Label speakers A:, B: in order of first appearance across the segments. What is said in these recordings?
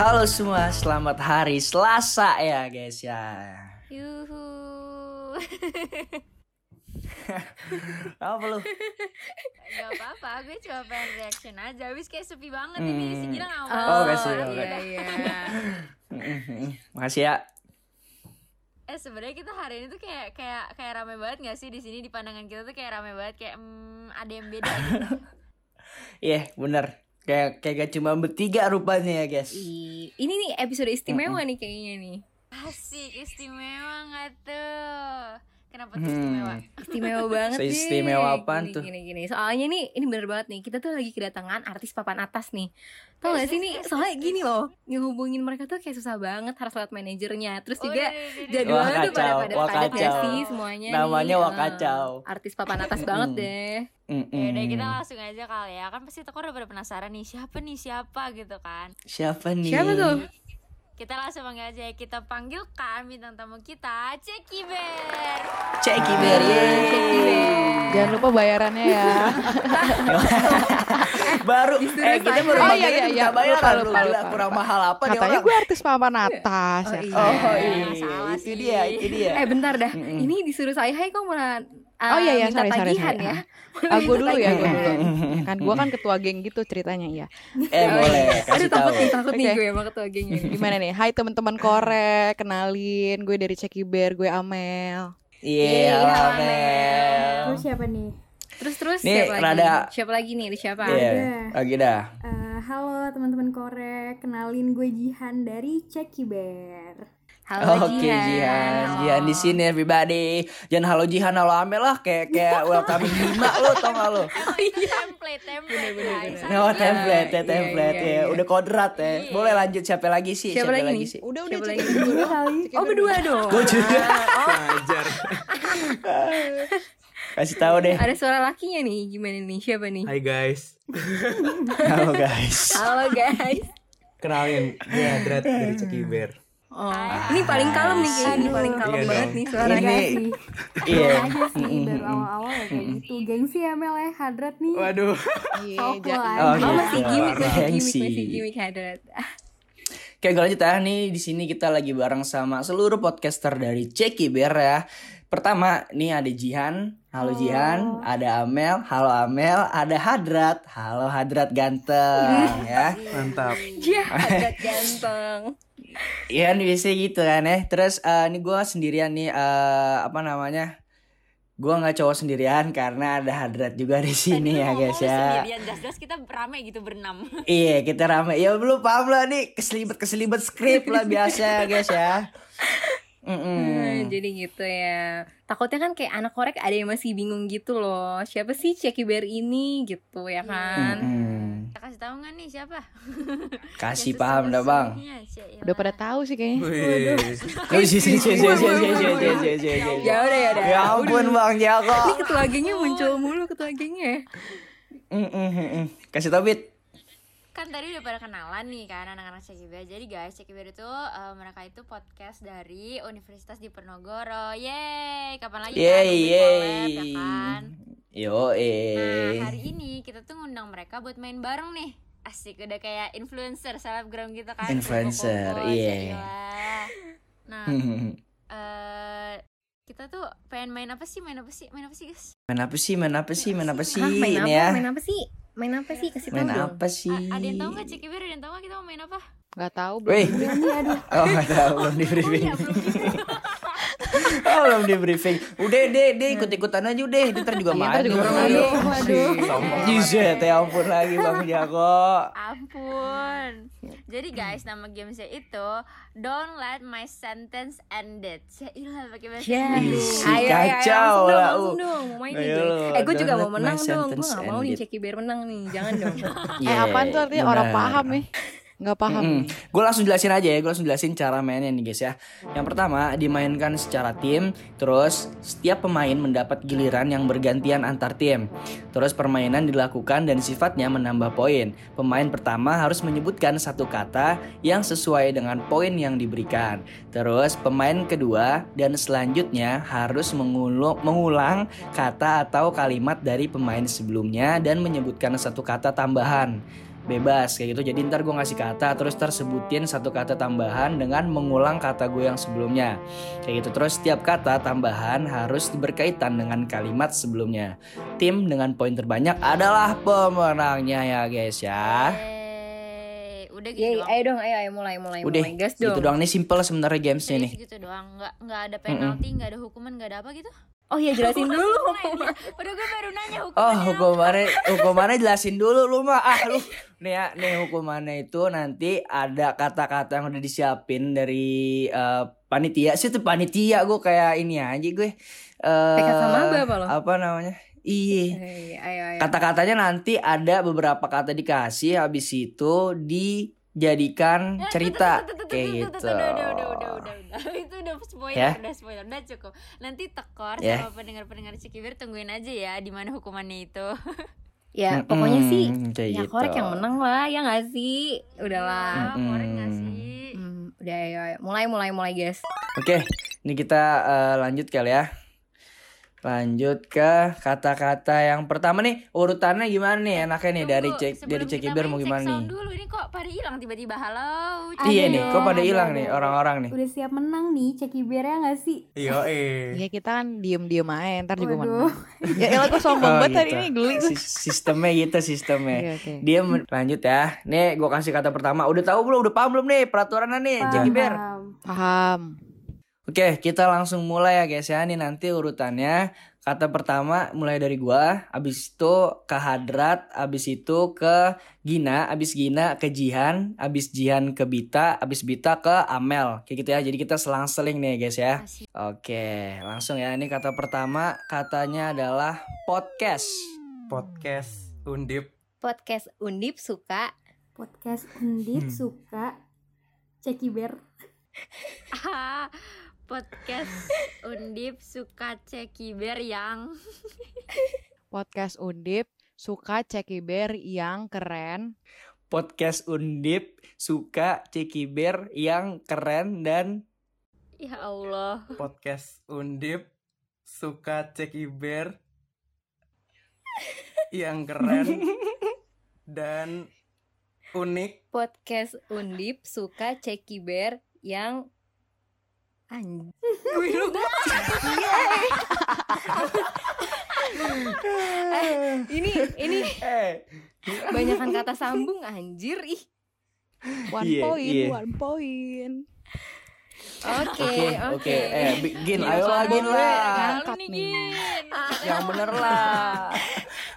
A: Halo semua, selamat hari Selasa ya guys ya.
B: Yuhu.
A: Oh, Apa lu?
B: Gak apa-apa, gue cuma pengen reaction aja. Abis kayak sepi banget
A: Hmm.
B: ini, si Gilang nggak
A: Oh,
B: mau.
A: kasih,
B: Iya.
A: oke.
C: iya.
A: Makasih ya.
B: Eh sebenarnya kita hari ini tuh kayak kayak kayak rame banget gak sih di sini di pandangan kita tuh kayak rame banget kayak hmm, ada yang beda gitu.
A: Iya, bener. Kayak kayak gak cuma bertiga rupanya ya guys.
C: Ih, Ini nih episode istimewa nih kayaknya nih.
B: Asik, istimewa gak tuh? Kenapa tuh
A: Hmm.
B: istimewa?
C: Istimewa banget deh.
A: Seistimewa apaan
C: Gini,
A: tuh?
C: Gini gini. Soalnya nih ini bener banget nih. Kita tuh lagi kedatangan artis papan atas nih. Tau gak sih nih? Soalnya gini loh, ngehubungin mereka tuh kayak susah banget harus lewat manajernya. Terus juga
B: Udah, udah, udah, udah.
A: Wah,
C: jadwalnya tuh pada
A: kacau,
C: pada
A: wah,
C: padat gak
B: kacau.
C: sih semuanya nih?
A: Namanya wah
C: Eh,
A: kacau.
C: Artis papan atas banget
A: Mm.
C: deh.
A: Mm-mm.
B: Ya udah kita langsung aja kali ya kan pasti toko udah pada penasaran nih siapa nih siapa gitu kan
A: Siapa nih?
C: Siapa tuh?
B: kita langsung panggil aja kita panggilkan bintang tamu kita Ceki Bear
A: Ceki Ber, yeay.
D: Jangan lupa bayarannya ya.
A: baru eh kita baru
D: Oh, iya,
A: manggilnya
D: iya, iya.
A: minta bayaran
D: Lupa,
A: lu.
D: lupa,
A: Gila,
D: lupa.
A: kurang mahal apa nih
D: Katanya
A: orang?
D: gue artis papan atas
C: Oh,
D: ya.
A: Oh iya,
C: iya.
B: Eh, salah
A: itu
B: sih.
A: dia, itu dia.
C: Eh bentar dah.
A: Mm-mm.
C: Ini disuruh saya hai kok malah
D: Oh, iya, iya.
C: minta
D: Sorry, sorry,
C: tagihan
D: sorry.
C: ya.
D: Ah, gue dulu ya, gue dulu.
A: Mm-mm.
D: Kan gue kan ketua geng gitu ceritanya iya.
A: Eh boleh
C: iya. Aduh
A: kasih
C: takut
A: tahu.
C: nih, takut nih
D: Oke.
C: gue sama ketua geng ini.
D: Gimana nih? Hai teman-teman korek, kenalin gue dari Ceki Bear, gue Amel.
A: Iya,
C: Iya,
A: halo
C: Mel.
A: Mel.
E: Terus siapa nih?
C: Terus terus
A: Nih,
C: siapa
A: rada-
C: lagi? Siapa lagi nih? Ada Siapa?
A: Iya, lagi dah.
E: Eh, halo teman-teman korek, kenalin gue Jihan dari Ceki Bear.
C: Halo
A: Oke
C: Jihan. Oh.
A: Jihan,
C: Halo.
A: Jihan di sini everybody. Jangan halo Jihan, halo Amel lah, kayak kayak welcoming Bima lo tau gak lo?
B: Emang itu template template guys
A: No template, ya,
C: Iya,
A: template
C: iya,
A: ya,
C: iya.
A: udah kodrat ya. Boleh lanjut siapa lagi sih?
C: Siapa lagi nih?
A: sih?
D: Udah, udah
C: Siapa
D: Ceki
C: lagi?
D: Bear dulu. Ceki
C: Oh
D: Bear
C: berdua dong.
A: Gue juga.
C: Oh.
F: Ajar.
A: Kasih tahu deh.
C: Ada suara lakinya nih. Gimana nih? Siapa nih?
F: Hai guys.
A: Halo guys.
C: Halo guys.
F: Kenalin, gue Adrat dari Cekiber.
C: Oh, ini paling kalem nih kayaknya. Ini paling kalem
F: Iya
C: banget
F: dong.
C: nih suaranya.
A: Ini,
E: Makasih.
A: iya.
E: Kurang aja sih, baru awal-awal ya kayak gitu. Gengsi ya Mel ya, hadrat nih.
F: Waduh.
D: Iya,
E: Sok
D: ja-
E: lah.
A: Oh,
C: Oh masih gimmick,
A: Parah.
C: masih gimmick,
A: Gengsi.
C: masih gimmick hadrat.
A: Oke, gue lanjut ya. Nih di sini kita lagi bareng sama seluruh podcaster dari Ceki Bear ya. Pertama, nih ada Jihan. Halo Jihan, ada Amel, halo Amel, ada Hadrat. Halo Hadrat ganteng ya.
F: Mantap.
C: Jah, hadrat ganteng.
A: Iya nih biasanya gitu kan ya. Terus eh ini gue sendirian nih eh apa namanya? Gue nggak cowok sendirian karena ada Hadrat juga di sini ya guys ya.
B: Sendirian jas-jas kita rame gitu berenam
A: Iya kita rame. Ya belum paham lah nih keselibet keselibet skrip lah biasa ya guys ya.
C: Hmm,
A: Mm-mm.
C: jadi gitu ya. Takutnya kan kayak anak korek ada yang masih bingung gitu loh. Siapa sih Ceki Bear ini gitu ya
A: Hmm,
C: kan?
A: Mm-mm.
B: Kita kasih tahu nggak nih siapa?
A: Kasih
B: Yang
A: paham dah bang.
B: sesungguhnya, Cek.
D: Udah pada tahu sih kayaknya.
F: Wih.
A: Wih, sih, sih, sih, sih, sih, sih, sih, sih, sih, sih, sih, sih.
C: Ya udah ya udah.
A: Ya ampun bang
C: Ini kan
A: Joko.
C: ketua gengnya muncul mulu ketua gengnya.
A: Hmm, Mm-mm-mm. Kasih tau Bit.
B: kan tadi udah pada kenalan nih kan anak-anak Cekiber jadi guys Cekiber itu eh, mereka itu podcast dari Universitas Diponegoro yeay kapan lagi kan
A: Yeay
B: Ubin
A: yeay.
B: collab, ya kan
A: Yo
B: nah
A: eh.
B: hari ini kita tuh ngundang mereka buat main bareng nih asik udah kayak influencer selebgram gitu kan
A: Influencer,
B: Kupu-kupu,
A: iya. Hmm.
B: Sheila. nah
A: Main
B: eh, kita tuh pengen main apa sih main apa sih maih apa sih guys
A: apa sih? Main apa sih? Main apa sih?
C: Hah, Ah, main
A: Ini
C: apa?
A: ya.
C: Main apa sih? Main apa sih? Kasih tahu
A: Main
C: dong.
A: apa sih?
B: A- Ah, ada yang tahu nggak Cekiber ada yang tahu nggak kita mau main apa
D: Gak tahu
A: Wih.
D: belum.
E: Iya nih, aduh.
A: Oh, nggak tahu belum di briefing. Oh, belum di briefing. Udah deh, deh ikut-ikutan aja deh. Ntar juga
D: Iya,
A: mati
D: ntar juga
A: orang
D: mati.
A: aja.
E: Waduh.
F: Sombong.
D: Iya.
A: Jizet, ya ampun lagi Bang Jago.
B: Ampun. Jadi guys, nama gamesnya itu Don't Let My Sentence Ended. Cailah pakai bahasa
C: Ya.
B: Inggris.
A: Ih,
C: Ayo, ayo, ayo,
A: kacau
C: langsung dong,
A: lah,
C: langsung
A: U.
C: dong. Mau main nih
A: Ayo
C: gue.
A: lo,
C: Eh, gue juga
A: don't
C: mau
A: let my
C: menang dong. Gue
A: sentence
C: gak mau nih
A: end it.
C: Ceki Bear menang nih. Jangan dong.
A: Iya.
D: Eh apaan tuh artinya orang paham ya. nih? Gak paham.
A: Gue langsung jelasin aja ya, gue langsung jelasin cara mainnya nih guys ya. Yang pertama dimainkan secara tim, terus setiap pemain mendapat giliran yang bergantian antar tim. Terus permainan dilakukan dan sifatnya menambah poin. Pemain pertama harus menyebutkan satu kata yang sesuai dengan poin yang diberikan. Terus pemain kedua dan selanjutnya harus mengulu- mengulang kata atau kalimat dari pemain sebelumnya dan menyebutkan satu kata tambahan. bebas kayak gitu jadi ntar gue ngasih kata terus tersebutin satu kata tambahan dengan mengulang kata gue yang sebelumnya kayak gitu terus setiap kata tambahan harus berkaitan dengan kalimat sebelumnya tim dengan poin terbanyak adalah pemenangnya ya guys ya
B: Yeay. Udah gitu
C: Yeay,
B: doang.
C: Ah. Iya, ayo dong, ayo, ayo mulai, mulai,
A: Udah,
C: mulai. Gas
A: gitu
C: dong.
A: doang ini simple sebenarnya gamesnya
B: Serius
A: nih
B: gitu doang. Nggak, nggak ada penalti, nggak ada hukuman, nggak ada apa gitu.
C: Oh iya, jelasin
B: Langsung
C: dulu.
B: mulai dia. Udah gue baru nanya
A: Oh
B: hukumannya.
A: hukumannya hukumannya jelasin dulu lu mah ah lu nih ya nih hukumannya itu nanti ada kata-kata yang udah disiapin dari eh, panitia sih tuh panitia gue kayak ini aja gue eh,
C: PK sama apa apa lo?
A: apa namanya iya
C: Iya, ayo, ayo.
A: kata-katanya nanti ada beberapa kata dikasih habis itu dijadikan
B: Nah,
A: cerita kayak gitu
B: Udah, udah, udah, udah, udah, udah. Itu udah spoiler,
A: Ya?
B: udah spoiler, udah cukup. Nanti tekor
A: Ya.
B: sama pendengar-pendengar Cikibir tungguin aja ya di mana hukumannya itu.
A: Hmm,
C: Ya, pokoknya
A: Mm-mm,
C: sih
A: kayak
C: ya
A: gitu.
C: korek yang menang lah, ya nggak sih? Udahlah.
B: Ya, korek nggak
A: Mm-mm.
B: sih?
C: Hmm, udah ayo, ayo. mulai mulai mulai guys.
A: Oke, ini kita eh, lanjut kali ya. Lanjut ke kata-kata yang pertama nih. Urutannya gimana nih? Enaknya nih dari
B: Tunggu,
A: cek dari
B: sebelum
A: cek
B: kita
A: Iber
B: main
A: mau
B: cek
A: gimana
B: sound
A: nih?
B: Dulu ini kok pada hilang tiba-tiba. Halo. Cik.
E: Ada
A: Iya nih, kok
E: dong,
A: pada
E: ada,
A: hilang
E: ada,
A: nih
E: ada.
A: orang-orang nih.
E: Udah siap menang nih Ceki Bir ya gak sih?
F: Yo eh.
D: Ya kita kan diem-diem aja ntar juga
E: Waduh.
D: menang. Ya elah gue sombong
A: Oh,
D: banget hari
A: gitu.
D: ini geli gue.
A: Si- Sistemnya gitu
B: Iya.
A: sistemnya.
D: Oke, oke.
A: Dia men- lanjut ya. Nih, gua kasih kata pertama. Udah tahu belum? Udah paham belum nih peraturannya nih, cek Iber?
E: Paham.
D: Paham.
A: Oke, kita langsung mulai ya guys ya. Nih nanti urutannya kata pertama mulai dari gua, abis itu ke Hadrat, abis itu ke Gina, abis Gina ke Jihan, abis Jihan ke Bita, abis Bita ke Amel. Kayak gitu ya. Jadi kita selang-seling nih guys ya.
B: Asik.
A: Oke, langsung ya. Ini kata pertama katanya adalah podcast.
F: Podcast Undip.
C: Podcast Undip suka
E: Podcast
F: Hmm.
E: Undip suka Ceki Bir.
B: Ah, podcast Undip suka Cekiber yang
D: Podcast Undip suka cekiber yang keren.
A: Podcast Undip suka Cekiber yang keren dan
B: ya Allah.
F: Podcast Undip suka cek Iber yang keren dan unik.
C: podcast Undip suka Ceki Bear yang anj ini ini
A: eh
C: banyakkan kata sambung anjir ih.
D: One
A: Iya,
D: point,
A: iya.
D: one point.
C: Oke,
A: oke
C: oke.
A: eh begin ayo
D: Gila,
A: lagi
D: Gin,
A: lah
B: Lu
D: Ngangkat
B: nih,
D: nih.
B: Gin.
A: yang bener lah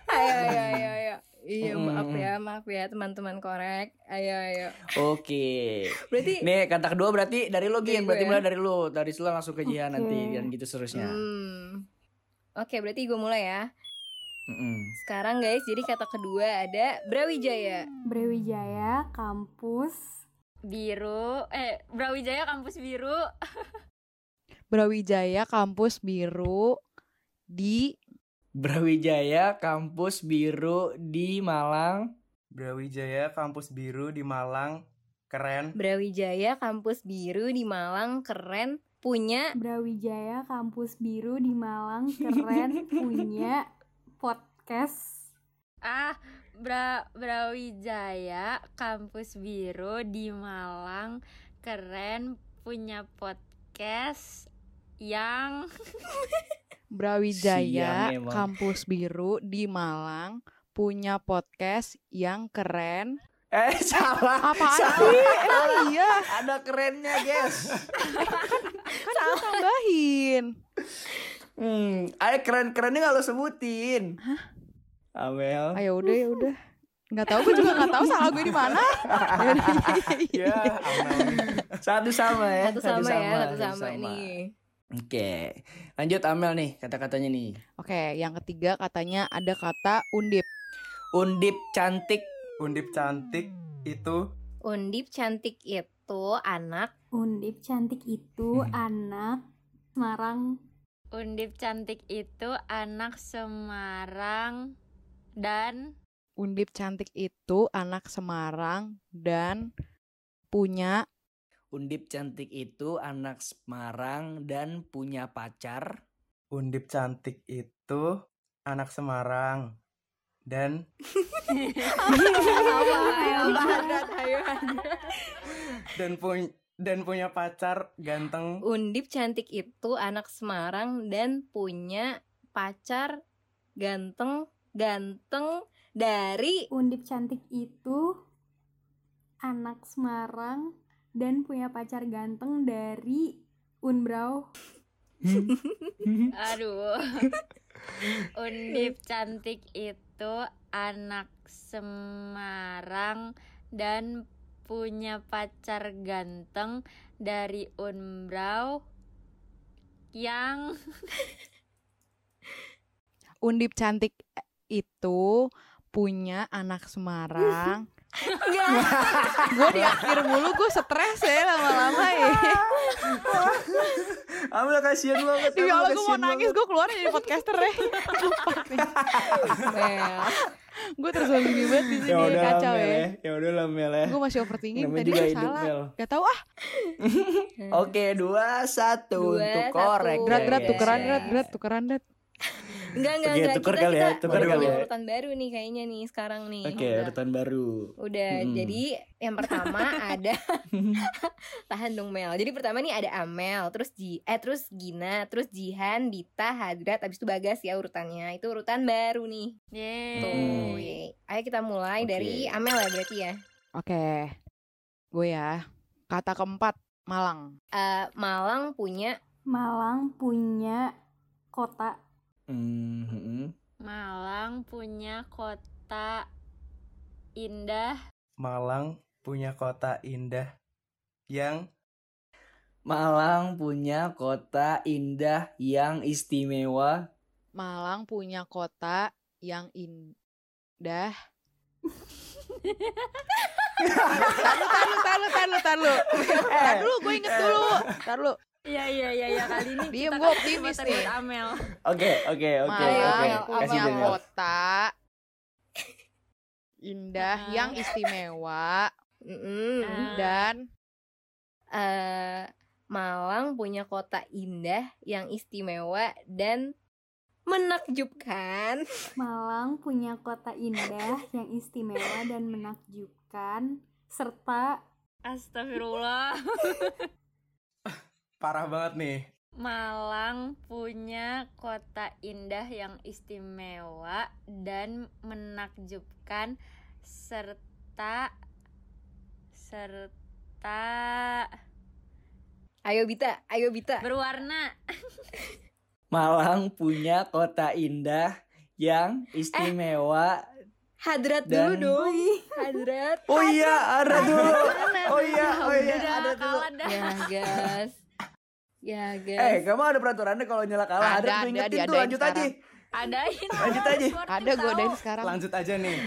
C: Ah. Ayo ayo ayo ayo. Iya,
A: Mm-mm.
C: maaf ya, maaf ya teman-teman korek. Ayo ayo.
A: oke
C: Berarti
A: nih kata kedua berarti dari lo
C: Dari
A: Gin berarti
C: gue.
A: mulai dari lo dari lo langsung ke Jihan nanti
E: Oke.
A: dan gitu seterusnya
C: hmm. Oke, berarti gue mulai ya.
A: Mm-mm.
C: Sekarang guys, jadi kata kedua ada Brawijaya.
E: Brawijaya kampus
B: biru eh Brawijaya kampus biru
D: Brawijaya kampus biru di
A: Brawijaya kampus biru di Malang
F: Brawijaya kampus biru di Malang keren.
C: Brawijaya kampus biru di Malang keren punya
E: Brawijaya kampus biru di Malang keren punya podcast
B: ah Bra Brawijaya kampus biru di Malang keren punya podcast yang
D: Brawijaya
A: Siang emang.
D: kampus biru di Malang punya podcast yang keren.
A: eh salah
D: Apaan
A: salah.
D: sih? Emang iya,
A: ada kerennya guys
D: kan gue tambahin.
A: hmm ada keren kerennya nggak lo sebutin Amel
D: Ayo udah ya udah. Nggak tahu gue juga nggak tahu salah gue di mana. Yaudah, iya, iya, iya.
F: Ya, aman.
A: satu sama ya
C: satu sama, ya, satu sama, nih.
A: Oke, lanjut Amel nih kata-katanya nih.
D: Oke, yang ketiga katanya ada kata undip.
A: Undip cantik
F: Undip cantik itu
C: Undip cantik itu anak
E: Undip cantik itu anak Semarang
B: undip cantik itu anak Semarang dan
D: Undip cantik itu anak Semarang dan punya
A: Undip cantik itu anak Semarang dan punya pacar.
F: Undip cantik itu anak Semarang dan
C: Iya,
E: Iya,
F: dan punya dan punya pacar ganteng
C: Undip cantik itu anak Semarang dan punya pacar ganteng ganteng dari
E: Undip cantik itu anak Semarang dan punya pacar ganteng dari Unbrau.
B: Aduh. Undip cantik itu anak Semarang dan punya pacar ganteng dari Unbrau yang
D: Undip cantik eh, itu punya anak Semarang. gue di akhir mulu gue stres ya lama-lama ya.
F: Amel kasihan Iya, banget
D: Demi
F: Amel,
D: Iya, Allah gue mau
F: kasihan
D: nangis gue keluar jadi podcaster ya. gue terzolimi banget di
F: banget.
D: sini
F: udah
D: kacau
F: Mel,
D: ya.
F: ya udah lah Mel ya
D: Gue masih overthinking
F: namanya
D: tadi
F: juga
D: gue
F: hidup
D: salah.
F: Mel
D: Gak tau ah
F: Oh,
A: Oke, dua satu
C: Dua,
A: untuk
C: satu.
A: korek.
D: Drat
F: Iya,
D: drat
A: guys.
D: tukeran
C: Yes.
D: drat drat tukeran drat
C: enggak enggak
F: Oke,
C: enggak
F: tuker
C: kita
F: kali
C: kita
F: ya, tuker
C: udah
F: kali
C: punya
F: ya.
C: urutan baru nih kayaknya nih sekarang nih
A: Oke,
C: Udah.
A: urutan baru.
C: Udah,
F: hmm.
A: Mm-mm.
C: jadi yang pertama ada tahan dong Mel. Jadi pertama nih ada Amel, terus Ji, eh terus Gina, terus Jihan, Dita, Hadrat, habis itu Bagas ya urutannya. Itu urutan baru nih. Tuh,
A: Hmm.
B: Yeay.
C: yeay. Ayo kita mulai
A: Oke.
C: dari Amel ya berarti ya.
D: Oke Gue ya Kata keempat Malang
C: Eh, Malang punya
E: Malang punya kota
A: Mhm.
B: Malang punya kota indah
F: Malang punya kota indah yang
A: Malang punya kota indah yang istimewa.
D: Malang punya kota yang indah. taruh, taruh, taruh, taruh, taruh. Taruh dulu, gue inget dulu. Taruh Eh. dulu.
B: Iya iya iya ya. kali ini
D: Diem,
B: kita
D: gua
B: kasih
D: optimis
B: kesempatan
D: nih.
B: buat Amel.
A: Oke, oke, oke, oke. Kasih
D: Malang punya
A: gue Mel.
D: kota indah
B: Ah.
D: yang istimewa
C: mm-mm.
B: Ah.
D: dan
C: Eh, Malang punya kota indah yang istimewa dan menakjubkan.
E: Malang punya kota indah yang istimewa dan menakjubkan serta
B: Astagfirullah.
F: parah banget nih
B: Malang punya kota indah yang istimewa dan menakjubkan serta serta
C: Ayo Bita, ayo Bita.
B: berwarna.
A: Malang punya kota indah yang
D: Eh.
A: istimewa.
C: Hadrat dulu
A: Dan-
C: dong. Hadrat.
A: oh iya, ada dulu. Oh iya, oh iya,
B: Udah
A: ada dulu.
B: kalah dah.
C: Ya gas. Ya
A: Eh,
C: gas.
A: kamu ada peraturannya kalau nyala kalah.
D: Ada,
A: Ada,
D: ada,
A: tuh ingetin tuh,
D: diadain
A: lanjut aja.
D: sekarang.
B: Adain.
A: Lanjut aja.
B: Keluar
D: ada
B: tahu.
D: gue dari sekarang.
F: lanjut aja nih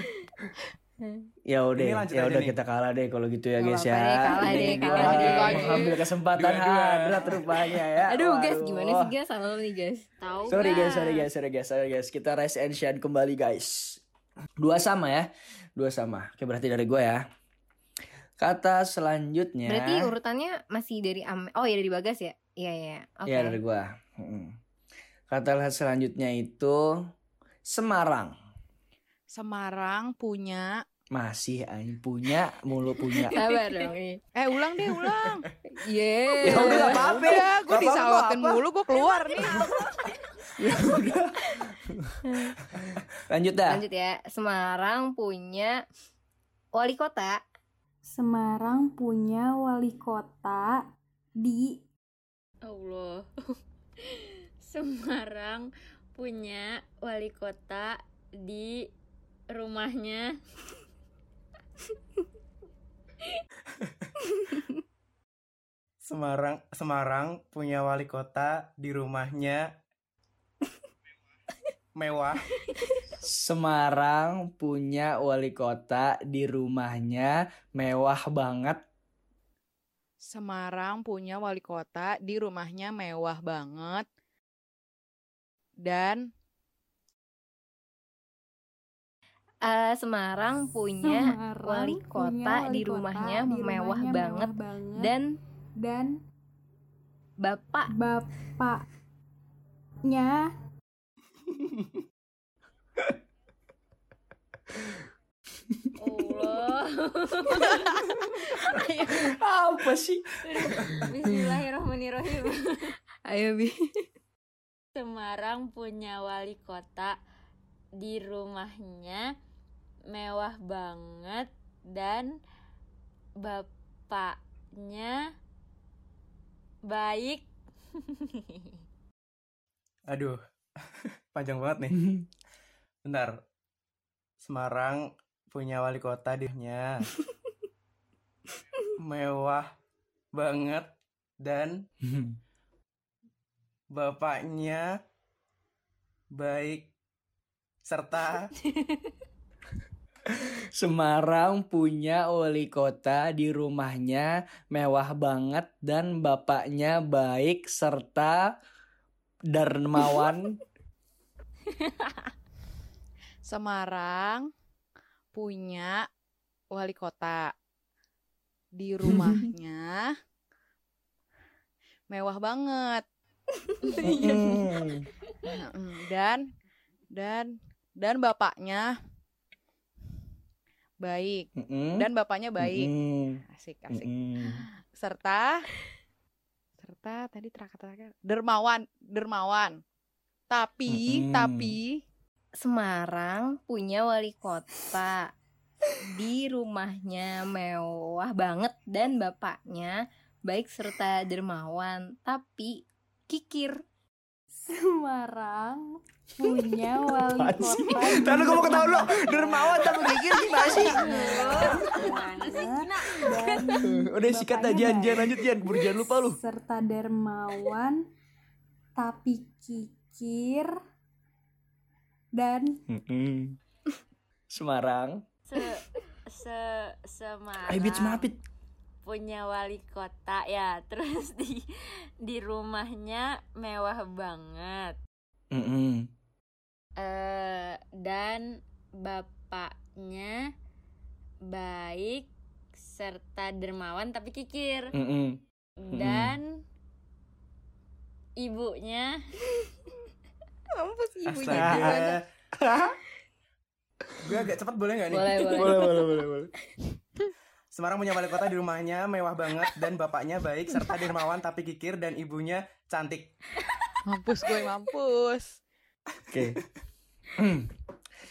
A: Ya
F: Ini
A: udah,
F: lanjut
A: ya
F: aja
A: udah
F: nih.
A: kita kalah deh kalau gitu ya guys
C: Nggak
A: ya.
C: apa-apa deh, kalah deh,
A: Ini
C: kalah
A: orang
D: deh.
A: yang Mengambil kesempatan
F: Dua-dua.
A: hadrat rupanya ya.
C: Aduh guys,
A: Waduh.
C: gimana sih guys selalu nih guys.
B: Tahu
A: Sorry guys,
B: nggak?
A: sorry guys, sorry guys, sorry guys. Kita rest and shine kembali guys. Dua sama ya, dua sama. Oke berarti dari gue ya. Kata selanjutnya.
C: Berarti urutannya masih dari Am Oh ya dari Bagas ya? Iya iya. Oke.
A: Iya dari gue. Kata selanjutnya itu Semarang.
D: Semarang punya
A: Masih anjing punya, mulu punya.
C: Sabar dong ini.
D: eh ulang deh ulang
A: Ya
C: Yeay.
A: udah nggak Ya apa-apa.
D: udah gue
A: Nggak apa-apa,
D: disawatin
A: nggak apa.
D: mulu gue keluar nih
A: Ya udah. Lanjut dah.
C: Lanjut ya. Semarang punya wali kota
E: Semarang punya wali kota di
B: Allah. Semarang punya wali kota di rumahnya.
F: Semarang Semarang punya wali kota di rumahnya mewah
A: Semarang punya wali kota di rumahnya mewah banget.
D: Semarang punya wali kota di rumahnya mewah banget dan
C: Eh, Semarang punya
E: Semarang
C: wali
E: punya
C: kota
E: wali
C: di rumahnya mewah banget
E: banget dan
C: dan
E: dan
C: bapak
E: bapaknya
B: Allah.
A: Apa sih?
B: Bismillahirrahmanirrahim.
C: Ayo Bi
B: Semarang punya wali kota di rumahnya mewah banget dan bapaknya baik.
F: Aduh, panjang banget nih. Bentar. Semarang punya wali kota dirinya. Mewah banget dan bapaknya baik serta
A: Semarang punya wali kota di rumahnya mewah banget dan bapaknya baik serta dermawan.
D: Semarang punya wali kota di rumahnya mewah banget
A: Mm.
D: Mm, dan dan dan bapaknya baik
A: Mm-mm.
D: dan bapaknya baik
A: Mm-mm.
D: asik asik
A: Mm-mm.
D: serta serta tadi terakhir-terakhir dermawan dermawan tapi
A: Mm-mm.
D: tapi
C: Semarang punya wali kota di rumahnya mewah banget dan bapaknya baik serta dermawan tapi kikir
E: Semarang punya wali
A: Apaan
E: kota.
A: sih?
E: di
A: Tadi gue mau ketawa dulu Dermawan tapi gigir gimana sih?
B: Gimana sih? Gina?
E: Dan
A: Udah sikat dah Jan, Jan lanjut Jan Buru jangan lupa lu
E: serta dermawan tapi kikir dan
A: Mm-mm. Semarang
B: Se se Semarang.
A: Ayo Bit, semangat Bit.
B: punya wali kota ya terus di di rumahnya mewah banget
A: Mm-mm.
B: eh dan bapaknya baik serta dermawan tapi kikir
A: Mm-mm.
B: dan ibunya
C: mampus ibunya gimana?
F: astaga. Gue agak cepat boleh nggak nih?
C: boleh boleh
A: Boleh boleh boleh boleh
F: Semarang punya wali kota di rumahnya mewah banget dan bapaknya baik serta dermawan tapi kikir dan ibunya cantik.
D: mampus gue mampus
A: Oke. Hmm.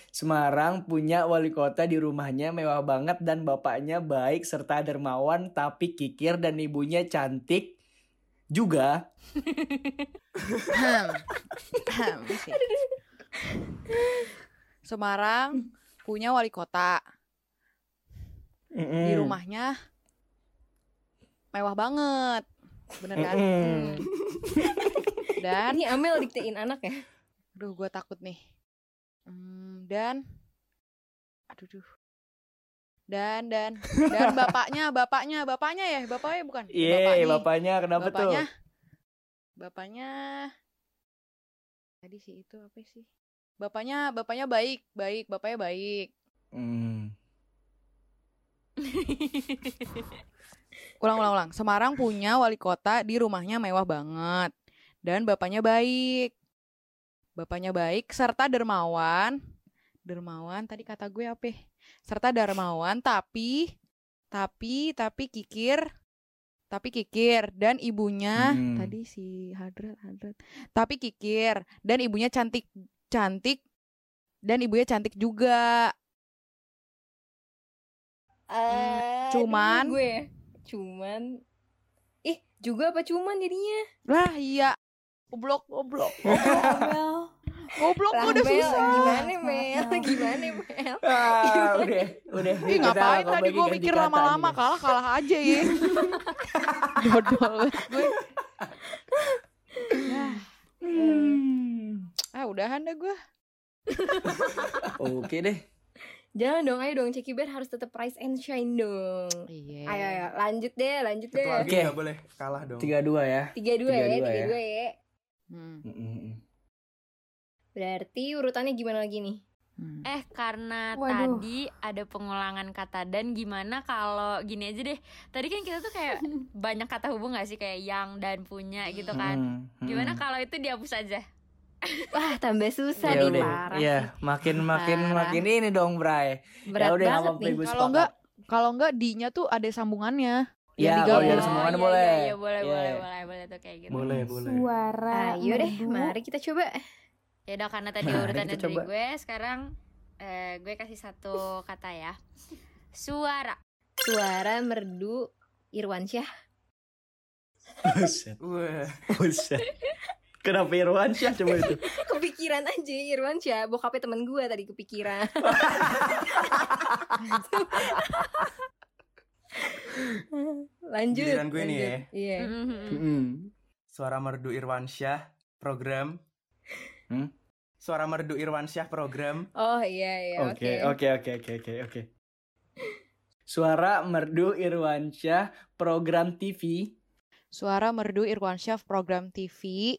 A: Semarang punya wali kota di rumahnya mewah banget dan bapaknya baik serta dermawan tapi kikir dan ibunya cantik juga.
D: Ahem. Ahem, sih. Semarang punya wali kota di
A: Mm.
D: rumahnya mewah banget bener kan
A: Mm-mm.
D: Hmm. dan
C: ini Amel diktein anak ya
D: aduh gue takut nih Hmm, dan aduh duh dan dan dan bapaknya bapaknya bapaknya ya bapaknya bukan
A: Yeay,
D: Bapaknya.
A: Iya, bapaknya kenapa
D: bapaknya
A: tuh?
D: bapaknya tadi sih itu apa sih bapaknya bapaknya baik baik bapaknya baik
A: Hmm.
D: ulang ulang ulang Semarang punya wali kota di rumahnya mewah banget dan bapaknya baik bapaknya baik serta dermawan dermawan tadi kata gue apa ya? serta dermawan tapi tapi tapi kikir tapi kikir dan ibunya
A: Hmm.
D: tadi si Hadrat Hadrat tapi kikir dan ibunya cantik cantik dan ibunya cantik juga
C: Aduh,
D: cuman-
C: gue ya. cuman ih juga apa cuman jadinya
D: lah iya oblok oblok
E: Amel.
D: Goblok
C: Lah,
D: gua udah
C: Mel,
D: susah.
C: gimana Mel gimana Mel
A: Ah, udah, udah.
D: Ih,
A: Kita
D: ngapain
A: bakal
D: tadi
A: bagi
D: gue
A: ganti
D: mikir
A: kata
D: lama-lama
A: nih.
D: kalah kalah aja ya. Dodol gue. Yah, ah udahan deh gue.
A: Oke deh.
C: jangan dong ayo dong Ceki Bear harus tetap rise and shine dong
D: Iya.
C: Ayo, ayo, lanjut deh, lanjut deh.
F: Ketua
A: Oke.
F: Agri nggak boleh kalah dong.
A: Tiga dua ya.
C: Tiga dua ya,
A: Tiga dua
C: tiga
A: ya.
C: dua ya.
D: Hmm.
A: Mm-mm.
C: Berarti urutannya gimana lagi nih?
D: Hmm.
B: eh karena
E: Waduh.
B: tadi ada pengulangan kata dan gimana kalau gini aja deh tadi kan kita tuh kayak banyak kata hubung gak sih kayak yang dan punya gitu kan
A: Mm-mm.
B: gimana kalau itu dihapus aja
C: Wah, tambah
A: Ya
C: susah nih,
A: udah.
C: parah
A: Iya, makin makin
C: Parah.
A: makin ini dong, Bray.
C: sih. Berat
A: ya udah nggak
C: banget
A: apa-apa,
C: nih.
A: gue
D: Kalau
A: sepakat.
D: enggak kalau enggak D-nya tuh ada sambungannya.
A: ya,
D: digabung.
A: kalau
D: Oh,
A: ada
D: iya,
A: semuanya
B: iya,
A: boleh.
B: Iya, boleh,
A: Iya.
B: boleh, boleh, boleh tuh kayak gitu.
F: Boleh, boleh.
E: Suara
C: Ayo ah, iya deh,
E: merdu.
C: mari kita coba.
B: Ya udah karena tadi
A: Nah,
B: urutannya
A: kita
B: dari
A: coba.
B: gue, sekarang eh, gue kasih satu kata ya. Suara.
C: Suara merdu Irwansyah.
A: Buset,
F: Wah.
A: buset. Kenapa Irwan Syah coba itu?
C: Kepikiran aja Irwansyah, bokapnya temen gue tadi kepikiran. lanjut.
F: Giliran gue
A: ya.
F: nih
C: lanjut. Iya.
B: Mhm.
A: Mm-mm.
F: Suara Merdu Irwansyah program.
A: Hmm?
F: Suara Merdu Irwansyah program.
C: Oh iya iya oke.
A: Oke, oke, oke, oke, oke, oke. Suara Merdu Irwansyah program TV.
D: Suara Merdu Irwansyah program TV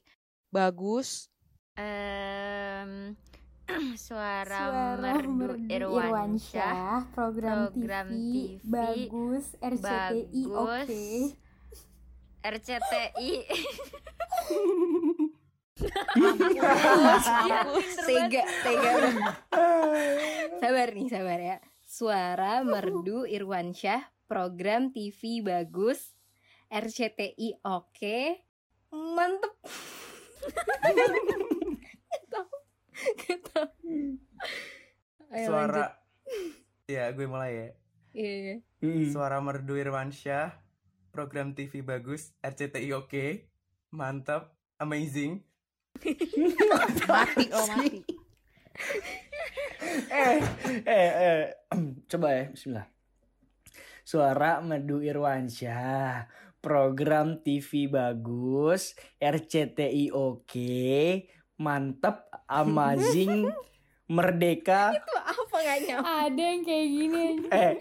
D: bagus.
B: Em, suara,
E: Suara
B: merdu
E: merdu
B: Irwansyah.
E: Irwansyah, program,
B: program
E: TV,
B: TV,
E: bagus RCTI oke
B: bagus. RCTI.
E: Oh,
B: Iya,
C: Tega, tega. sabar nih, sabar ya. Suara Merdu Irwansyah, program TV bagus, RCTI oke, mantep. Gak tau, gak tau. Ayo lanjut.
F: Suara Ya, gue mulai ya.
C: Iya, iya.
A: Mm.
F: Suara Merdu Irwansyah program TV bagus, RCTI oke. Mantap, amazing.
D: Mati oh mati.
A: eh, eh, eh. Coba ya, bismillah. Suara Merdu Irwansyah. Program TV bagus, RCTI oke, mantep, amazing, merdeka.
C: Itu apa gak nyampe?
E: ada yang kayak gini
A: Eh,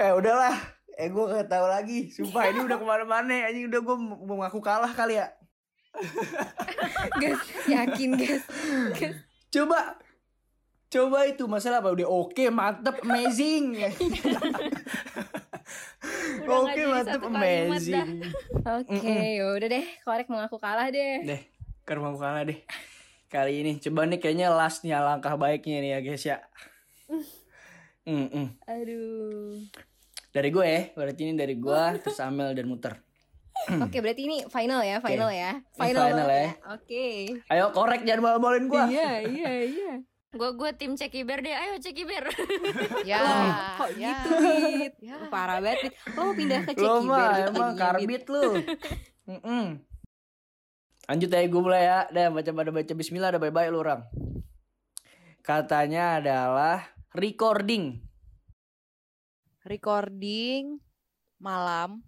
A: eh udahlah. Eh gue gak tahu lagi. Sumpah ini udah kemana-mana. ya, Anjing udah gue mau ngaku kalah kali ya.
C: Guys, yakin guys.
A: Coba, coba itu masalah apa? Udah oke, mantep, amazing.
B: Udah
A: Oke,
B: nggak jadi
A: mantep,
B: satu kalimat dah.
A: amazing.
C: Oke, yaudah deh, korek mengaku kalah deh.
A: Deh, karma kalah deh. Kali ini coba nih kayaknya lastnya langkah baiknya nih ya guys ya. Mm-mm.
C: Aduh.
A: Dari gue ya, berarti ini dari gue, terus Amel dan Muter.
C: Oke, berarti ini final ya, final ya. Final,
A: final
C: banget
A: ya.
C: Oke.
A: Ayo korek jangan malu-maluin gue.
C: Iya, iya, iya.
B: Gue gue tim cekiber deh. Ayo cekiber.
D: Ya.
C: Kok
D: ya.
C: gitu, Bit?
D: Ya.
C: Parah banget, Bit. Lo mau pindah ke
A: Lo
C: Cekiber
A: mah
C: gitu
A: emang
C: lagi, Bit.
A: karbit lu. Mm-mm. Lanjut ya gue mulai ya. Dah baca pada baca bismillah ada bye-bye lu orang. Katanya adalah recording.
D: Recording malam.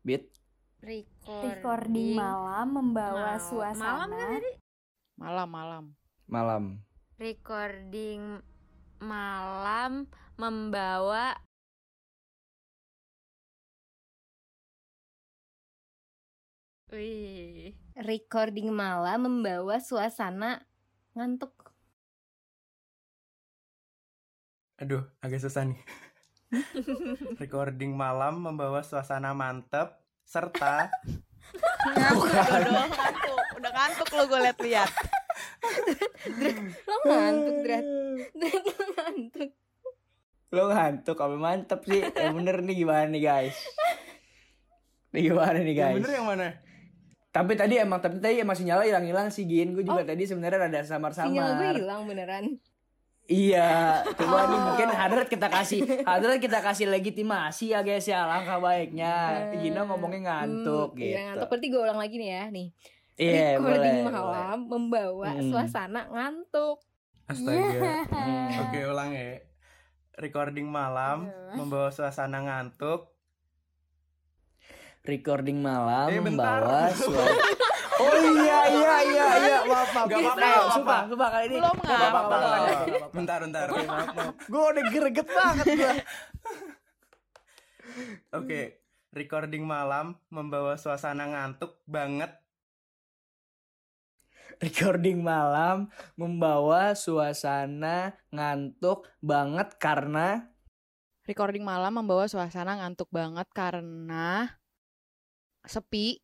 A: Bit.
E: recording malam
B: Mal-
E: membawa suasana
B: malam kan tadi?
D: Malam malam.
A: Malam.
B: Recording malam membawa Wih.
C: Recording malam membawa suasana ngantuk.
F: Aduh, agak susah nih. Recording malam membawa suasana mantap serta
D: Udah kantuk, udah kantuk lo gue liat-liat.
A: Hmm.
C: Lo ngantuk, Drat. Drat, lo ngantuk.
A: Lo ngantuk apa mantep sih? Yang bener nih gimana nih guys? Nih gimana nih
F: Yang
A: guys?
F: bener yang mana?
A: Tapi tadi emang tapi tadi emang sinyalnya hilang-hilang sih Gin. Gue juga tadi sebenarnya rada
C: Sinyal gue
A: samar-samar.
C: hilang beneran.
A: Iya, coba nih
C: Oh.
A: mungkin Hadrat kita kasih Hadrat kita kasih legitimasi ya guys ya langkah baiknya. Nah,
C: Eh,
A: Gina ngomongnya ngantuk
C: Hmm,
A: gitu.
C: Iya, ngantuk. Berarti gue ulang lagi nih ya, nih.
A: Iya,
C: Recording
A: boleh.
C: malam membawa
A: Hmm.
C: suasana ngantuk.
F: Astaga.
A: boleh. Hmm.
F: Oke, ulang ya. Recording malam
E: Aduh.
F: membawa suasana ngantuk.
A: Recording malam
F: Eh, bentar.
A: membawa suara. Oh iya iya iya iya, maaf maaf.
F: Gak
A: Gak apa-apa,
F: apa-apa, gak
A: sumpah,
F: apa-apa.
A: sumpah kali ini.
D: Belum
A: Gak
D: ngapa,
A: apa-apa,
D: belum.
A: gak apa-apa, gak apa-apa.
F: Bentar, bentar.
A: Gue udah greget banget gue.
F: Oke, recording malam membawa suasana ngantuk banget.
A: Recording malam membawa suasana ngantuk banget karena
D: Recording malam membawa suasana ngantuk banget karena sepi.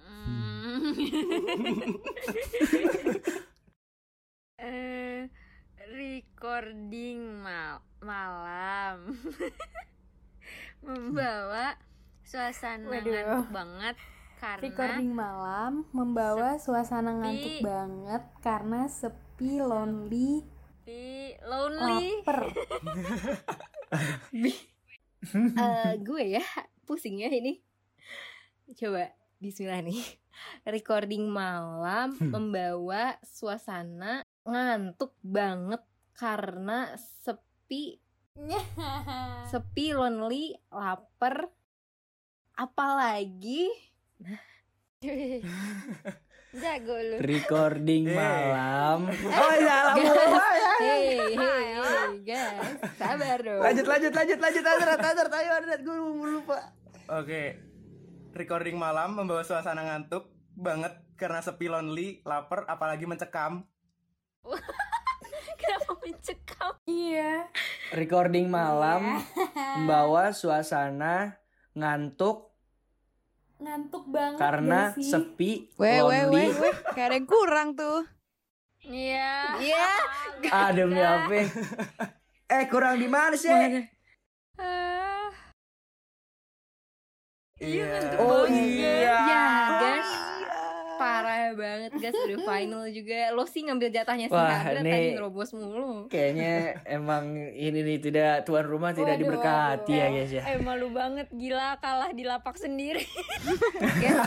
E: Hmm.
B: Eh, recording mal malam membawa suasana
E: Waduh.
B: ngantuk banget karena
E: Recording malam membawa suasana ngantuk
B: Sepi.
E: banget karena sepi, lonely,
B: di lonely
E: lapar.
C: Eh, gue ya pusing ya ini coba Bismillah nih recording malam
A: Hmm.
C: membawa suasana ngantuk banget karena sepi sepi lonely lapar apalagi
B: jago lu
A: Recording
F: Eh.
A: malam. Oh, salah mulu.
C: hey, hey, hey, guys sabar dong
A: Lanjut lanjut lanjut lanjut Azrat Azrat ayo Azrat gue lupa.
F: Oke. Recording malam membawa suasana ngantuk banget karena sepi lonely, lapar, apalagi mencekam.
B: kenapa mencekam
E: iya.
A: Recording malam membawa suasana ngantuk
E: Ngantuk
B: Oh,
E: banget
A: karena
E: gak sih?
A: sepi,
D: Weh, weh, weh,
A: lonely.
D: weh. Kayak ada yang kurang tuh.
B: iya
C: Iya.
A: Ah demi apa? Eh kurang di mana sih?
B: Ah, Iya, ngantuk
A: Oh
B: banget,
A: iya.
C: ya guys parah banget guys udah final juga lo sih ngambil jatahnya sih
A: Wah,
C: Kak. Berat
A: nih.
C: tadi ngerobos mulu
A: Kayaknya emang ini nih tidak tuan rumah tidak
E: Waduh,
A: diberkati ya
E: waduh.
A: guys ya.
B: eh malu banget gila kalah di lapak sendiri
C: guys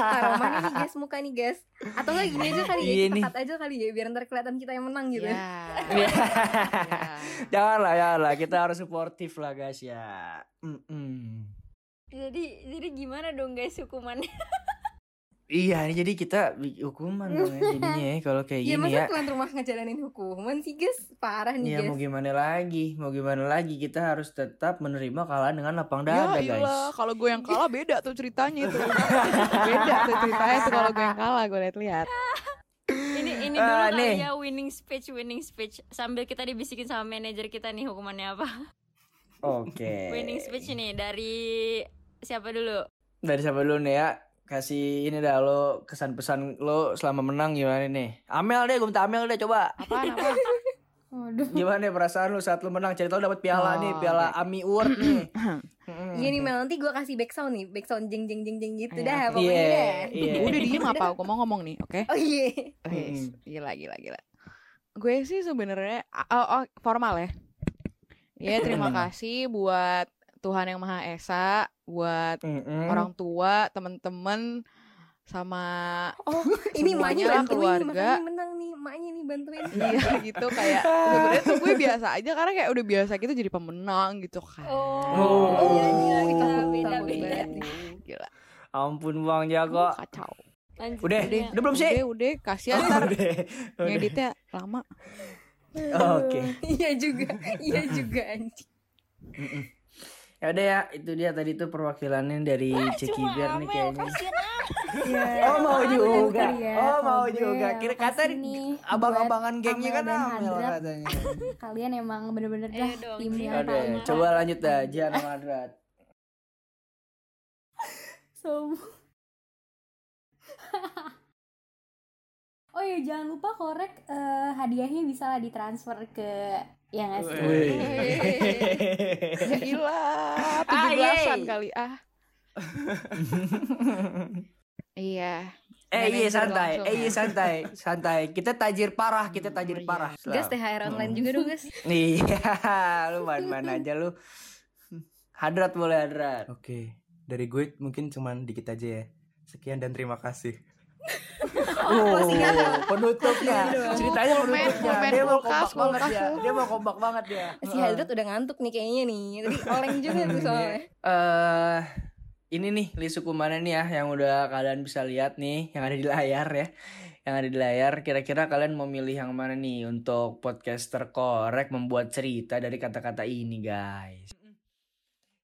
C: taruh mana nih guys muka nih guys atau nggak gini aja kali ya
A: Iya
C: kita
A: nih.
C: cut aja kali ya biar ntar kelihatan kita yang menang gitu
D: Ya.
A: Iya.
D: Ya.
A: janganlah janganlah kita harus suportif lah guys ya. Mm-mm.
B: jadi jadi gimana dong guys hukumannya
A: Iya, ini jadi kita bi- hukuman dong ya jadinya ya kalau kayak
C: ya
A: gini
C: masa
A: ya.
C: tuan rumah ngejalanin hukuman sih guys parah nih
A: Ya
C: guys
A: mau gimana lagi, mau gimana lagi kita harus tetap menerima kalahan dengan lapang dada
D: Ya
A: guys.
D: iyalah, kalau gue yang kalah beda tuh ceritanya tuh. beda tuh ceritanya tuh kalau gue yang kalah gue lihat-lihat.
B: ini ini
A: Ah,
B: dulu
A: nih.
B: kali ya winning speech winning speech sambil kita dibisikin sama manajer kita nih hukumannya apa
A: Oke.
B: winning speech ini dari siapa dulu
A: Dari siapa dulu nih ya? Kasih ini dah lo kesan pesan lo selama menang gimana nih? Amel deh, gue minta Amel deh coba.
D: Apaan apa?
E: Waduh.
A: Gimana nih perasaan lo saat lo menang? Cerita lo dapat piala
D: Oh,
A: nih, piala Ami Award nih. Mm-mm.
C: Iya nih Mel, nanti gue kasih back sound nih Back sound jeng jeng jeng jeng gitu
D: Ayo,
C: dah
D: oke.
C: pokoknya
A: Iya,
C: dah.
A: iya.
D: Udah diem apa? Gue mau ngomong nih, oke?
C: Oh iya
D: Oke,
A: Mm.
D: gila gila gila. Gue sih sebenarnya oh, oh, formal ya. Ya terima
A: Mm.
D: kasih buat Tuhan yang Maha Esa, buat
A: Mm-mm.
D: orang tua, temen-temen, sama
C: Oh ini
D: Semuanya
C: maknya bantuin
D: keluarga.
C: nih, makanya menang nih Maknya nih bantuin
D: iya gitu kayak sebenarnya tuh gue biasa aja karena kayak udah biasa gitu jadi pemenang gitu kan.
A: Oh.
B: Gila, gila, gila,
C: Oh.
B: beda
C: Sambung
B: beda
C: banget nih.
D: Gila.
A: Ampun Bang Jago.
D: Kacau.
B: Lanjut ya.
A: Udah,
B: aja.
A: udah belum sih? Oh, iya.
D: Udah, udah, kasihan ntar
A: Udah. udah.
D: ngeditnya lama.
A: Oke.
C: Iya juga Iya juga anjing
A: Ya udah ya, itu dia tadi tuh perwakilannya dari Ceki
B: Cuma kan?
A: Bear nih
B: Amel,
A: kayaknya.
B: kasihan
E: kan, Ya,
A: Oh mau
E: Amel
A: juga,
E: kali ya,
A: oh
E: kalau
A: mau
E: gue
A: juga.
E: ya,
A: Kira
E: makasih
A: kata
E: nih
A: abang-abangan
E: buat
A: gengnya kan
E: dan
A: Amel
E: Hadrat.
A: katanya.
E: Kalian emang bener-bener dah
B: Ayo dong,
E: tim yang
B: Jihan.
A: Udah,
E: paling
B: Amel.
A: coba lanjut dah, Jihan sama Adrat.
E: sombong. Oh iya jangan lupa korek eh, hadiahnya bisa lah ditransfer ke
A: Wih.
E: yang asli.
D: Ya ilah,
A: Ah,
D: 17-an
A: yeay.
D: kali ah. Iya.
A: eh iya
D: Manajer
A: santai,
D: langsung
A: eh iya
D: ya.
A: santai, santai. Kita tajir parah, kita
D: Oh,
A: tajir
D: iya.
A: parah.
C: Guys THR online
A: Hmm.
C: juga dong guys
A: Iya, lu main-main aja lu. Hadrat boleh Hadrat.
F: Oke, dari gue mungkin cuman dikit aja ya. Sekian dan terima kasih.
A: Oh, penutupnya. Ceritanya
D: Komen,
A: penutupnya.
D: komen,
A: Dia mau kompak
D: Iya. kulkas,
A: banget
D: kulkas,
A: ya.
D: kulkas. Eh,
A: Dia mau kompak banget ya.
C: Si Hadrat udah ngantuk nih kayaknya nih Tadi oleng juga tuh
A: Iya.
C: soalnya
A: eh ini nih list hukumannya nih ya yang udah kalian bisa lihat nih yang ada di layar ya. Yang ada di layar kira-kira kalian mau milih yang mana nih untuk podcaster korek membuat cerita dari kata-kata ini guys.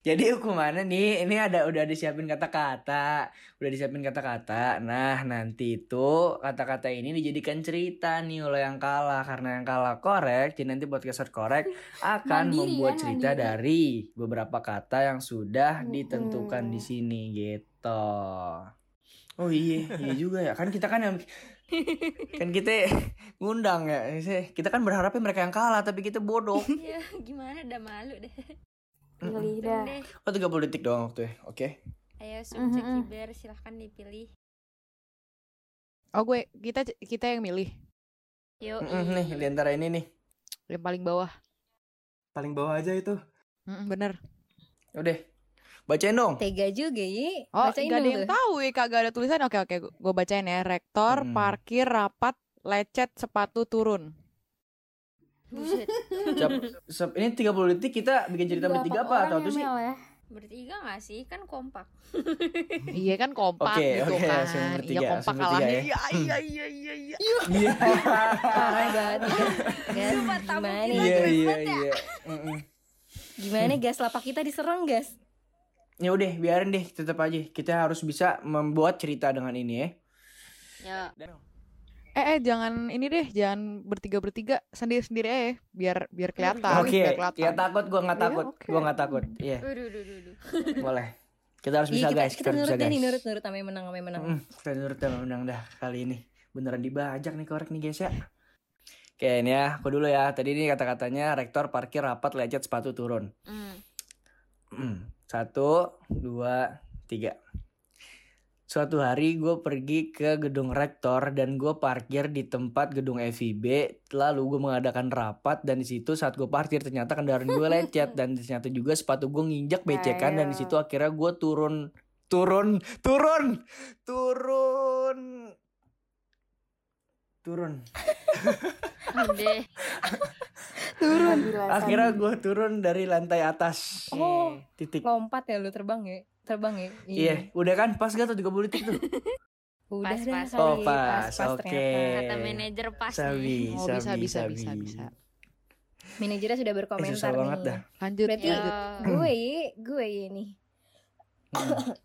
A: Jadi hukumannya nih ini ada udah disiapin kata-kata, udah disiapin kata-kata. Nah, nanti itu kata-kata ini dijadikan cerita nih oleh yang kalah karena yang kalah korek, jadi nanti podcaster korek akan
E: Mandiri
A: membuat
E: ya,
A: cerita
E: mandiri.
A: dari beberapa kata yang sudah ditentukan di
E: Mm-mm.
A: sini gitu. Oh iya, iya juga ya. Kan kita kan yang kan kita ngundang ya. Kita kan berharapnya mereka yang kalah tapi kita bodoh.
B: ya gimana udah malu deh
E: Pilih dah.
B: deh
A: Oh 30 detik doang waktu ya. Oke.
B: ayo subjek
E: Mhm.
B: kiber silahkan dipilih
D: Oh gue kita kita yang milih
B: yuk
A: Mm-mm, Mm-hmm, Nih di antara ini nih.
D: yang paling bawah.
F: Paling bawah aja itu.
D: Mm, bener.
A: Udah. Bacain dong.
C: Tega juga ya.
D: Oh
C: Bacain
D: gak ada
C: dong
D: yang
C: tuh.
D: tahu, ya, kagak ada tulisan. Oke oke, gue bacain ya. Rektor,
A: Hmm.
D: parkir, rapat, lecet, sepatu turun.
B: buset
A: Cap- sep- ini 30 detik kita bikin cerita
E: Berapa
A: bertiga apa
E: orang
A: atau
E: ya,
A: tuh sih?
E: Mel, ya?
B: bertiga gak sih kan kompak
D: Iya kan kompak
A: Oke,
D: gitu
A: oke,
D: kan.
A: langsung bertiga,
D: Iya kompak
A: langsung bertiga
D: kalahnya.
A: ya.
D: Iya iya iya iya. iya.
A: Iya.
C: Parah banget. Gas,
B: Sumpah, tamu
C: gimana?
B: kita
A: Iya
B: Keren
A: iya
B: banget ya.
A: iya. Mm-mm.
C: Gimana gas lapak kita diserang gas?
A: Ya udah, biarin deh tetap aja. Kita harus bisa membuat cerita dengan ini ya.
B: ya
D: Eh, eh jangan ini deh, jangan bertiga bertiga sendiri sendiri eh biar biar kelihatan.
A: Oke,
D: biar kelihatan.
A: ya takut gua nggak
D: Iya,
A: takut.
D: oke.
A: Gua nggak takut. Iya,
B: Waduh, duh, duh, duh.
A: boleh. Kita harus
C: Iya,
A: bisa
C: kita,
A: guys,
C: kita
A: kita harus
C: nurut
A: bisa
C: deh nih,
A: guys.
C: nurut nurut sampai menang sampai menang.
A: Mm, Kita nurut sama menang dah kali ini. Beneran dibajak nih korek nih guys ya. Oke ini ya, aku dulu ya. Tadi ini kata-katanya rektor parkir rapat lecet sepatu turun.
B: Hmm.
A: Mm, Satu, dua, tiga. Suatu hari gue pergi ke gedung rektor dan gue parkir di tempat gedung FIB. Lalu gue mengadakan rapat dan di situ saat gue parkir ternyata kendaraan gue lecet dan ternyata juga sepatu gue nginjak becekan dan di situ akhirnya gue turun turun turun turun turun.
B: Udah.
E: Turun. Gila,
A: Akhirnya
E: Sandi.
A: gue turun dari lantai atas.
C: Oh.
A: Titik.
C: Lompat ya lu terbang ya? Terbang ya?
A: Iya, udah kan pas gak tuh 30 detik tuh.
C: Udah
B: Pas,
C: dah
B: pas.
C: kali,
A: Oh, pas. Oke.
C: ternyata.
B: Kata manajer pas nih.
A: Sabi,
D: Oh,
A: sabi,
D: bisa bisa
A: sabi.
D: bisa bisa.
C: Manajernya sudah
A: Eh,
C: berkomentar
A: susah banget
C: nih.
A: dah.
D: Lanjut
C: Berarti-
B: Ya.
D: lanjut.
C: Gue, gue ini.
A: Hmm.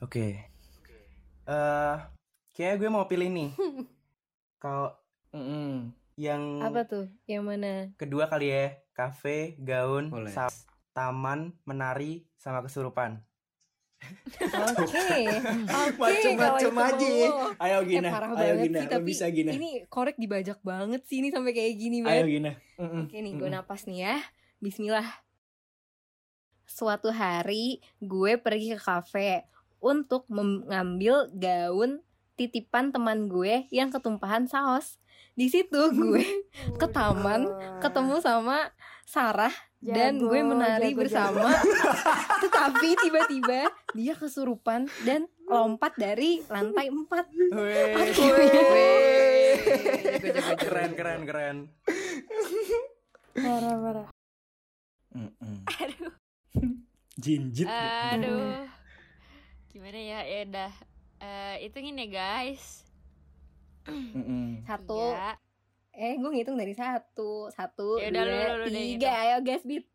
A: Oke.
F: Eh, kayaknya gue mau pilih nih. Kalau
A: Mm-mm.
F: yang
C: Apa tuh? Yang mana?
F: kedua kali ya, kafe, gaun,
A: Boleh.
F: saus, taman, menari, sama kesurupan.
C: Oke. Oke, kalau itu
A: Macem-macem
C: mau
A: aja.
C: lo.
A: Ayo
C: Eh,
A: Gina,
C: parah
A: ayo
C: banget
A: Gina,
C: sih,
A: lo
C: tapi
A: bisa Gina.
C: ini korek dibajak banget sih ini sampai kayak gini
A: Ayo
C: banget.
A: Gina. Mm-mm.
E: Hmm,
C: Oke nih, gue
A: Mm-mm.
C: napas nih ya. Bismillah. Suatu hari gue pergi ke kafe untuk mengambil gaun titipan teman gue yang ketumpahan saus. Di situ
E: Hmm.
C: gue ke taman, ketemu sama Sarah dan
E: Jago,
C: gue menari
E: jago,
C: bersama. Tetapi tiba-tiba dia kesurupan dan lompat dari lantai 4.
D: Weh.
F: keren, keren, keren.
E: jago. Parah, parah.
A: Mm-mm. Jinjit.
B: Eh. Aduh. Gimana ya? Ya udah. Eh, hitungin ya guys. Ya,
A: Mm-mm.
C: Satu.
E: Iya.
B: Tiga.
C: Eh, gue ngitung dari satu, satu,
B: Ya udah, lu-
C: dua,
B: lu- lu deh
C: tiga. Ayo guys, beat.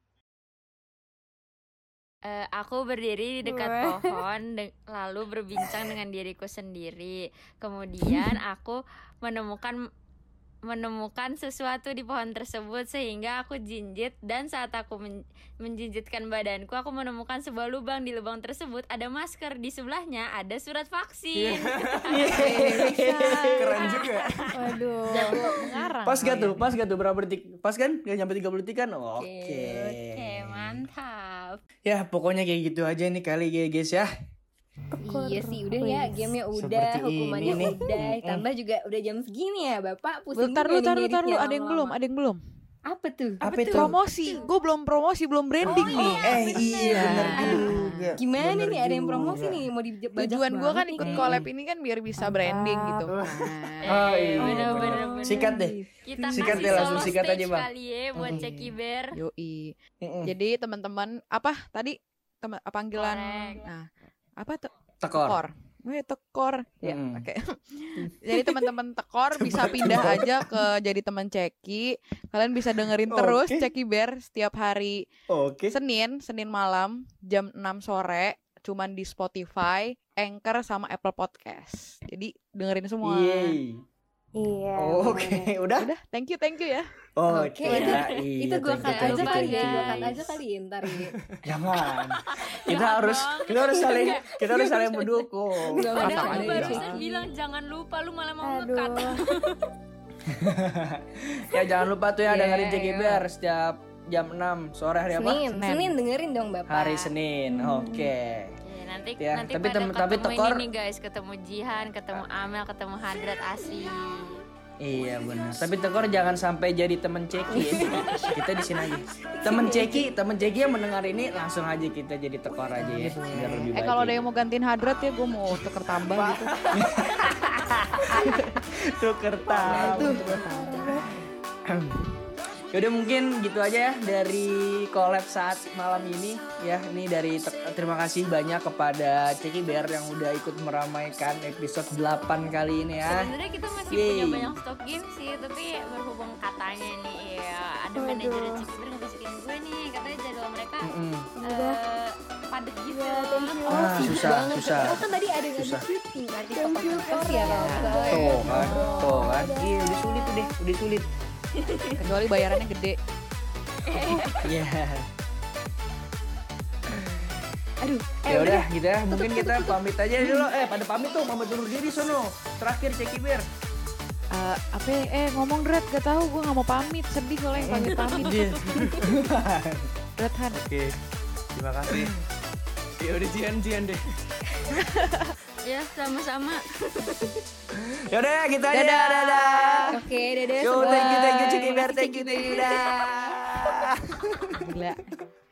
B: Eh, aku berdiri di dekat
E: Wah.
B: pohon de- lalu berbincang dengan diriku sendiri. Kemudian aku menemukan menemukan sesuatu di pohon tersebut sehingga aku jinjit dan saat aku men- menjinjitkan badanku aku menemukan sebuah lubang di lubang tersebut ada masker di sebelahnya ada surat vaksin.
F: keren juga.
E: Waduh.
D: Ngarang
A: Pas gak tuh,
D: kalian.
A: pas gak tuh berapa detik? Pas kan? Gak nyampe 30 detik kan? Oke.
B: Oke, mantap.
A: Ya pokoknya kayak gitu aja nih kali ya guys ya.
C: Iya sih, udah ya, gamenya udah,
A: Seperti
C: hukumannya
A: ini nih.
C: udah.
A: Mm-mm.
C: Tambah juga udah jam segini ya, Bapak pusing
D: Bentar lu,
C: juga nih
D: bentar lu, bentar lu.
C: ngeditnya
D: Ada yang belum,
C: lama-lama.
D: ada yang belum.
C: Apa tuh?
A: Apa, itu?
D: Promosi, gue belum promosi, belum branding
F: Oh,
D: nih.
A: eh iya bener
D: Aduh,
A: juga.
C: Oh, Gimana
A: Bener
C: nih? Ada yang promosi
A: juga.
C: nih mau dibajak
D: Tujuan gue kan
C: banget
D: ikut
C: nih. Iya,
D: collab ini kan biar bisa branding gitu.
A: Oh, iya,
B: Eh,
A: bener,
B: bener-bener,
A: bener.
B: bener.
A: Sikat deh.
B: Kita
A: Sikat
B: kasih
A: deh, langsung
B: solo
A: sikat aja,
B: stage
A: Bang.
B: kali ya buat
A: Mm.
B: Cek Iber.
D: Nah, Yoi.
A: Mm-mm.
D: Jadi teman-teman apa tadi teman panggilan
B: Korek.
D: nah apa tuh
A: Tekor.
D: tekor. Weh, tekor. Ya,
A: Mm.
D: oke. jadi teman-teman tekor bisa pindah aja ke jadi teman Ceki. Kalian bisa dengerin terus
A: Oke.
D: Ceki Bear setiap hari
A: Oke.
D: Senin, Senin malam jam 6 sore cuman di Spotify, Anchor sama Apple Podcast. Jadi dengerin semua.
A: Yeay.
E: Iya.
A: Oke, udah.
D: Udah, thank you, thank you ya.
A: Oke.
C: Oke.
A: ya, iya,
C: itu gue
A: thank you,
C: cut
A: thank
C: aja
A: you,
C: kali
A: thank
C: ya,
A: you,
C: gue cut
A: guys.
C: aja kali ntar ya.
A: Jangan. kita
B: Jangan
A: harus
B: dong.
A: kita harus saling kita harus saling mendukung.
C: Iya, Nggak
A: Sama
C: Padahal
A: aja.
B: Padahal lu
C: ada
B: barusan
C: aja.
B: bilang jangan lupa lu malah mau ngekat.
E: Aduh.
A: ya jangan lupa tuh ya
D: Iya,
A: dengerin
D: iya.
A: JGBR setiap jam 6 sore hari apa?
C: Senin, Hmm.
D: Senin.
C: Senin dengerin dong bapak.
A: Hari Senin. Oke.
B: Oke, nanti
A: Ya,
B: nanti
A: tapi
B: pada
A: tem- tapi
B: ketemu
A: tekor-
B: ini nih guys, ketemu Jihan, ketemu Amel, ketemu Hadrat Asih.
A: Iya benar. Tapi Tekor jangan sampai jadi temen ceki. ya. kita di sini
C: Iya,
A: aja. Temen ceki, temen ceki yang mendengar ini langsung aja kita jadi Tekor aja ya.
C: Iya.
A: Biar lebih
D: Eh
A: baik.
D: kalau ada yang mau gantiin Hadrat ya, gue mau tuker tambah gitu.
A: tuker tahu. Yaudah mungkin gitu aja ya dari collab saat malam ini ya ini dari Tek- terima kasih banyak kepada Ceki Bear yang udah ikut meramaikan episode 8 kali ini ya.
B: Sebenarnya kita masih
A: Yeay.
B: punya banyak stok game sih, tapi berhubung katanya nih ya ada manajer Ciputer ngebisikin gue nih, katanya jadwal mereka
A: Mm-mm.
B: eh, padat gitu.
A: Ah, susah, susah.
C: Oh kan tadi ada yang
A: Susah.
C: syuting kan di tempat podcast ya. Bapak.
A: Tuh kan, tuh kan. Iya, udah sulit tuh deh, udah sulit.
D: Kecuali bayarannya gede.
A: Iya.
C: Aduh,
A: Ya udah gitu ya. Mungkin kita pamit aja dulu. Eh, pada pamit tuh, pamit dulu diri sono. Terakhir Ceki Bear.
D: Eh, apa ya? eh ngomong Drat gak tahu gue gak mau pamit sedih kalau yang pamit pamit Drat Han
F: Oke, terima kasih. Ya udah jian jian deh.
B: Ya, sama-sama.
A: Ya udah ya, gitu aja.
D: Dadah.
A: Dadah.
C: Oke, dadah
A: Yo,
C: semua.
A: thank you, thank you, Ceki Bear, thank you, thank you, dah.
D: gila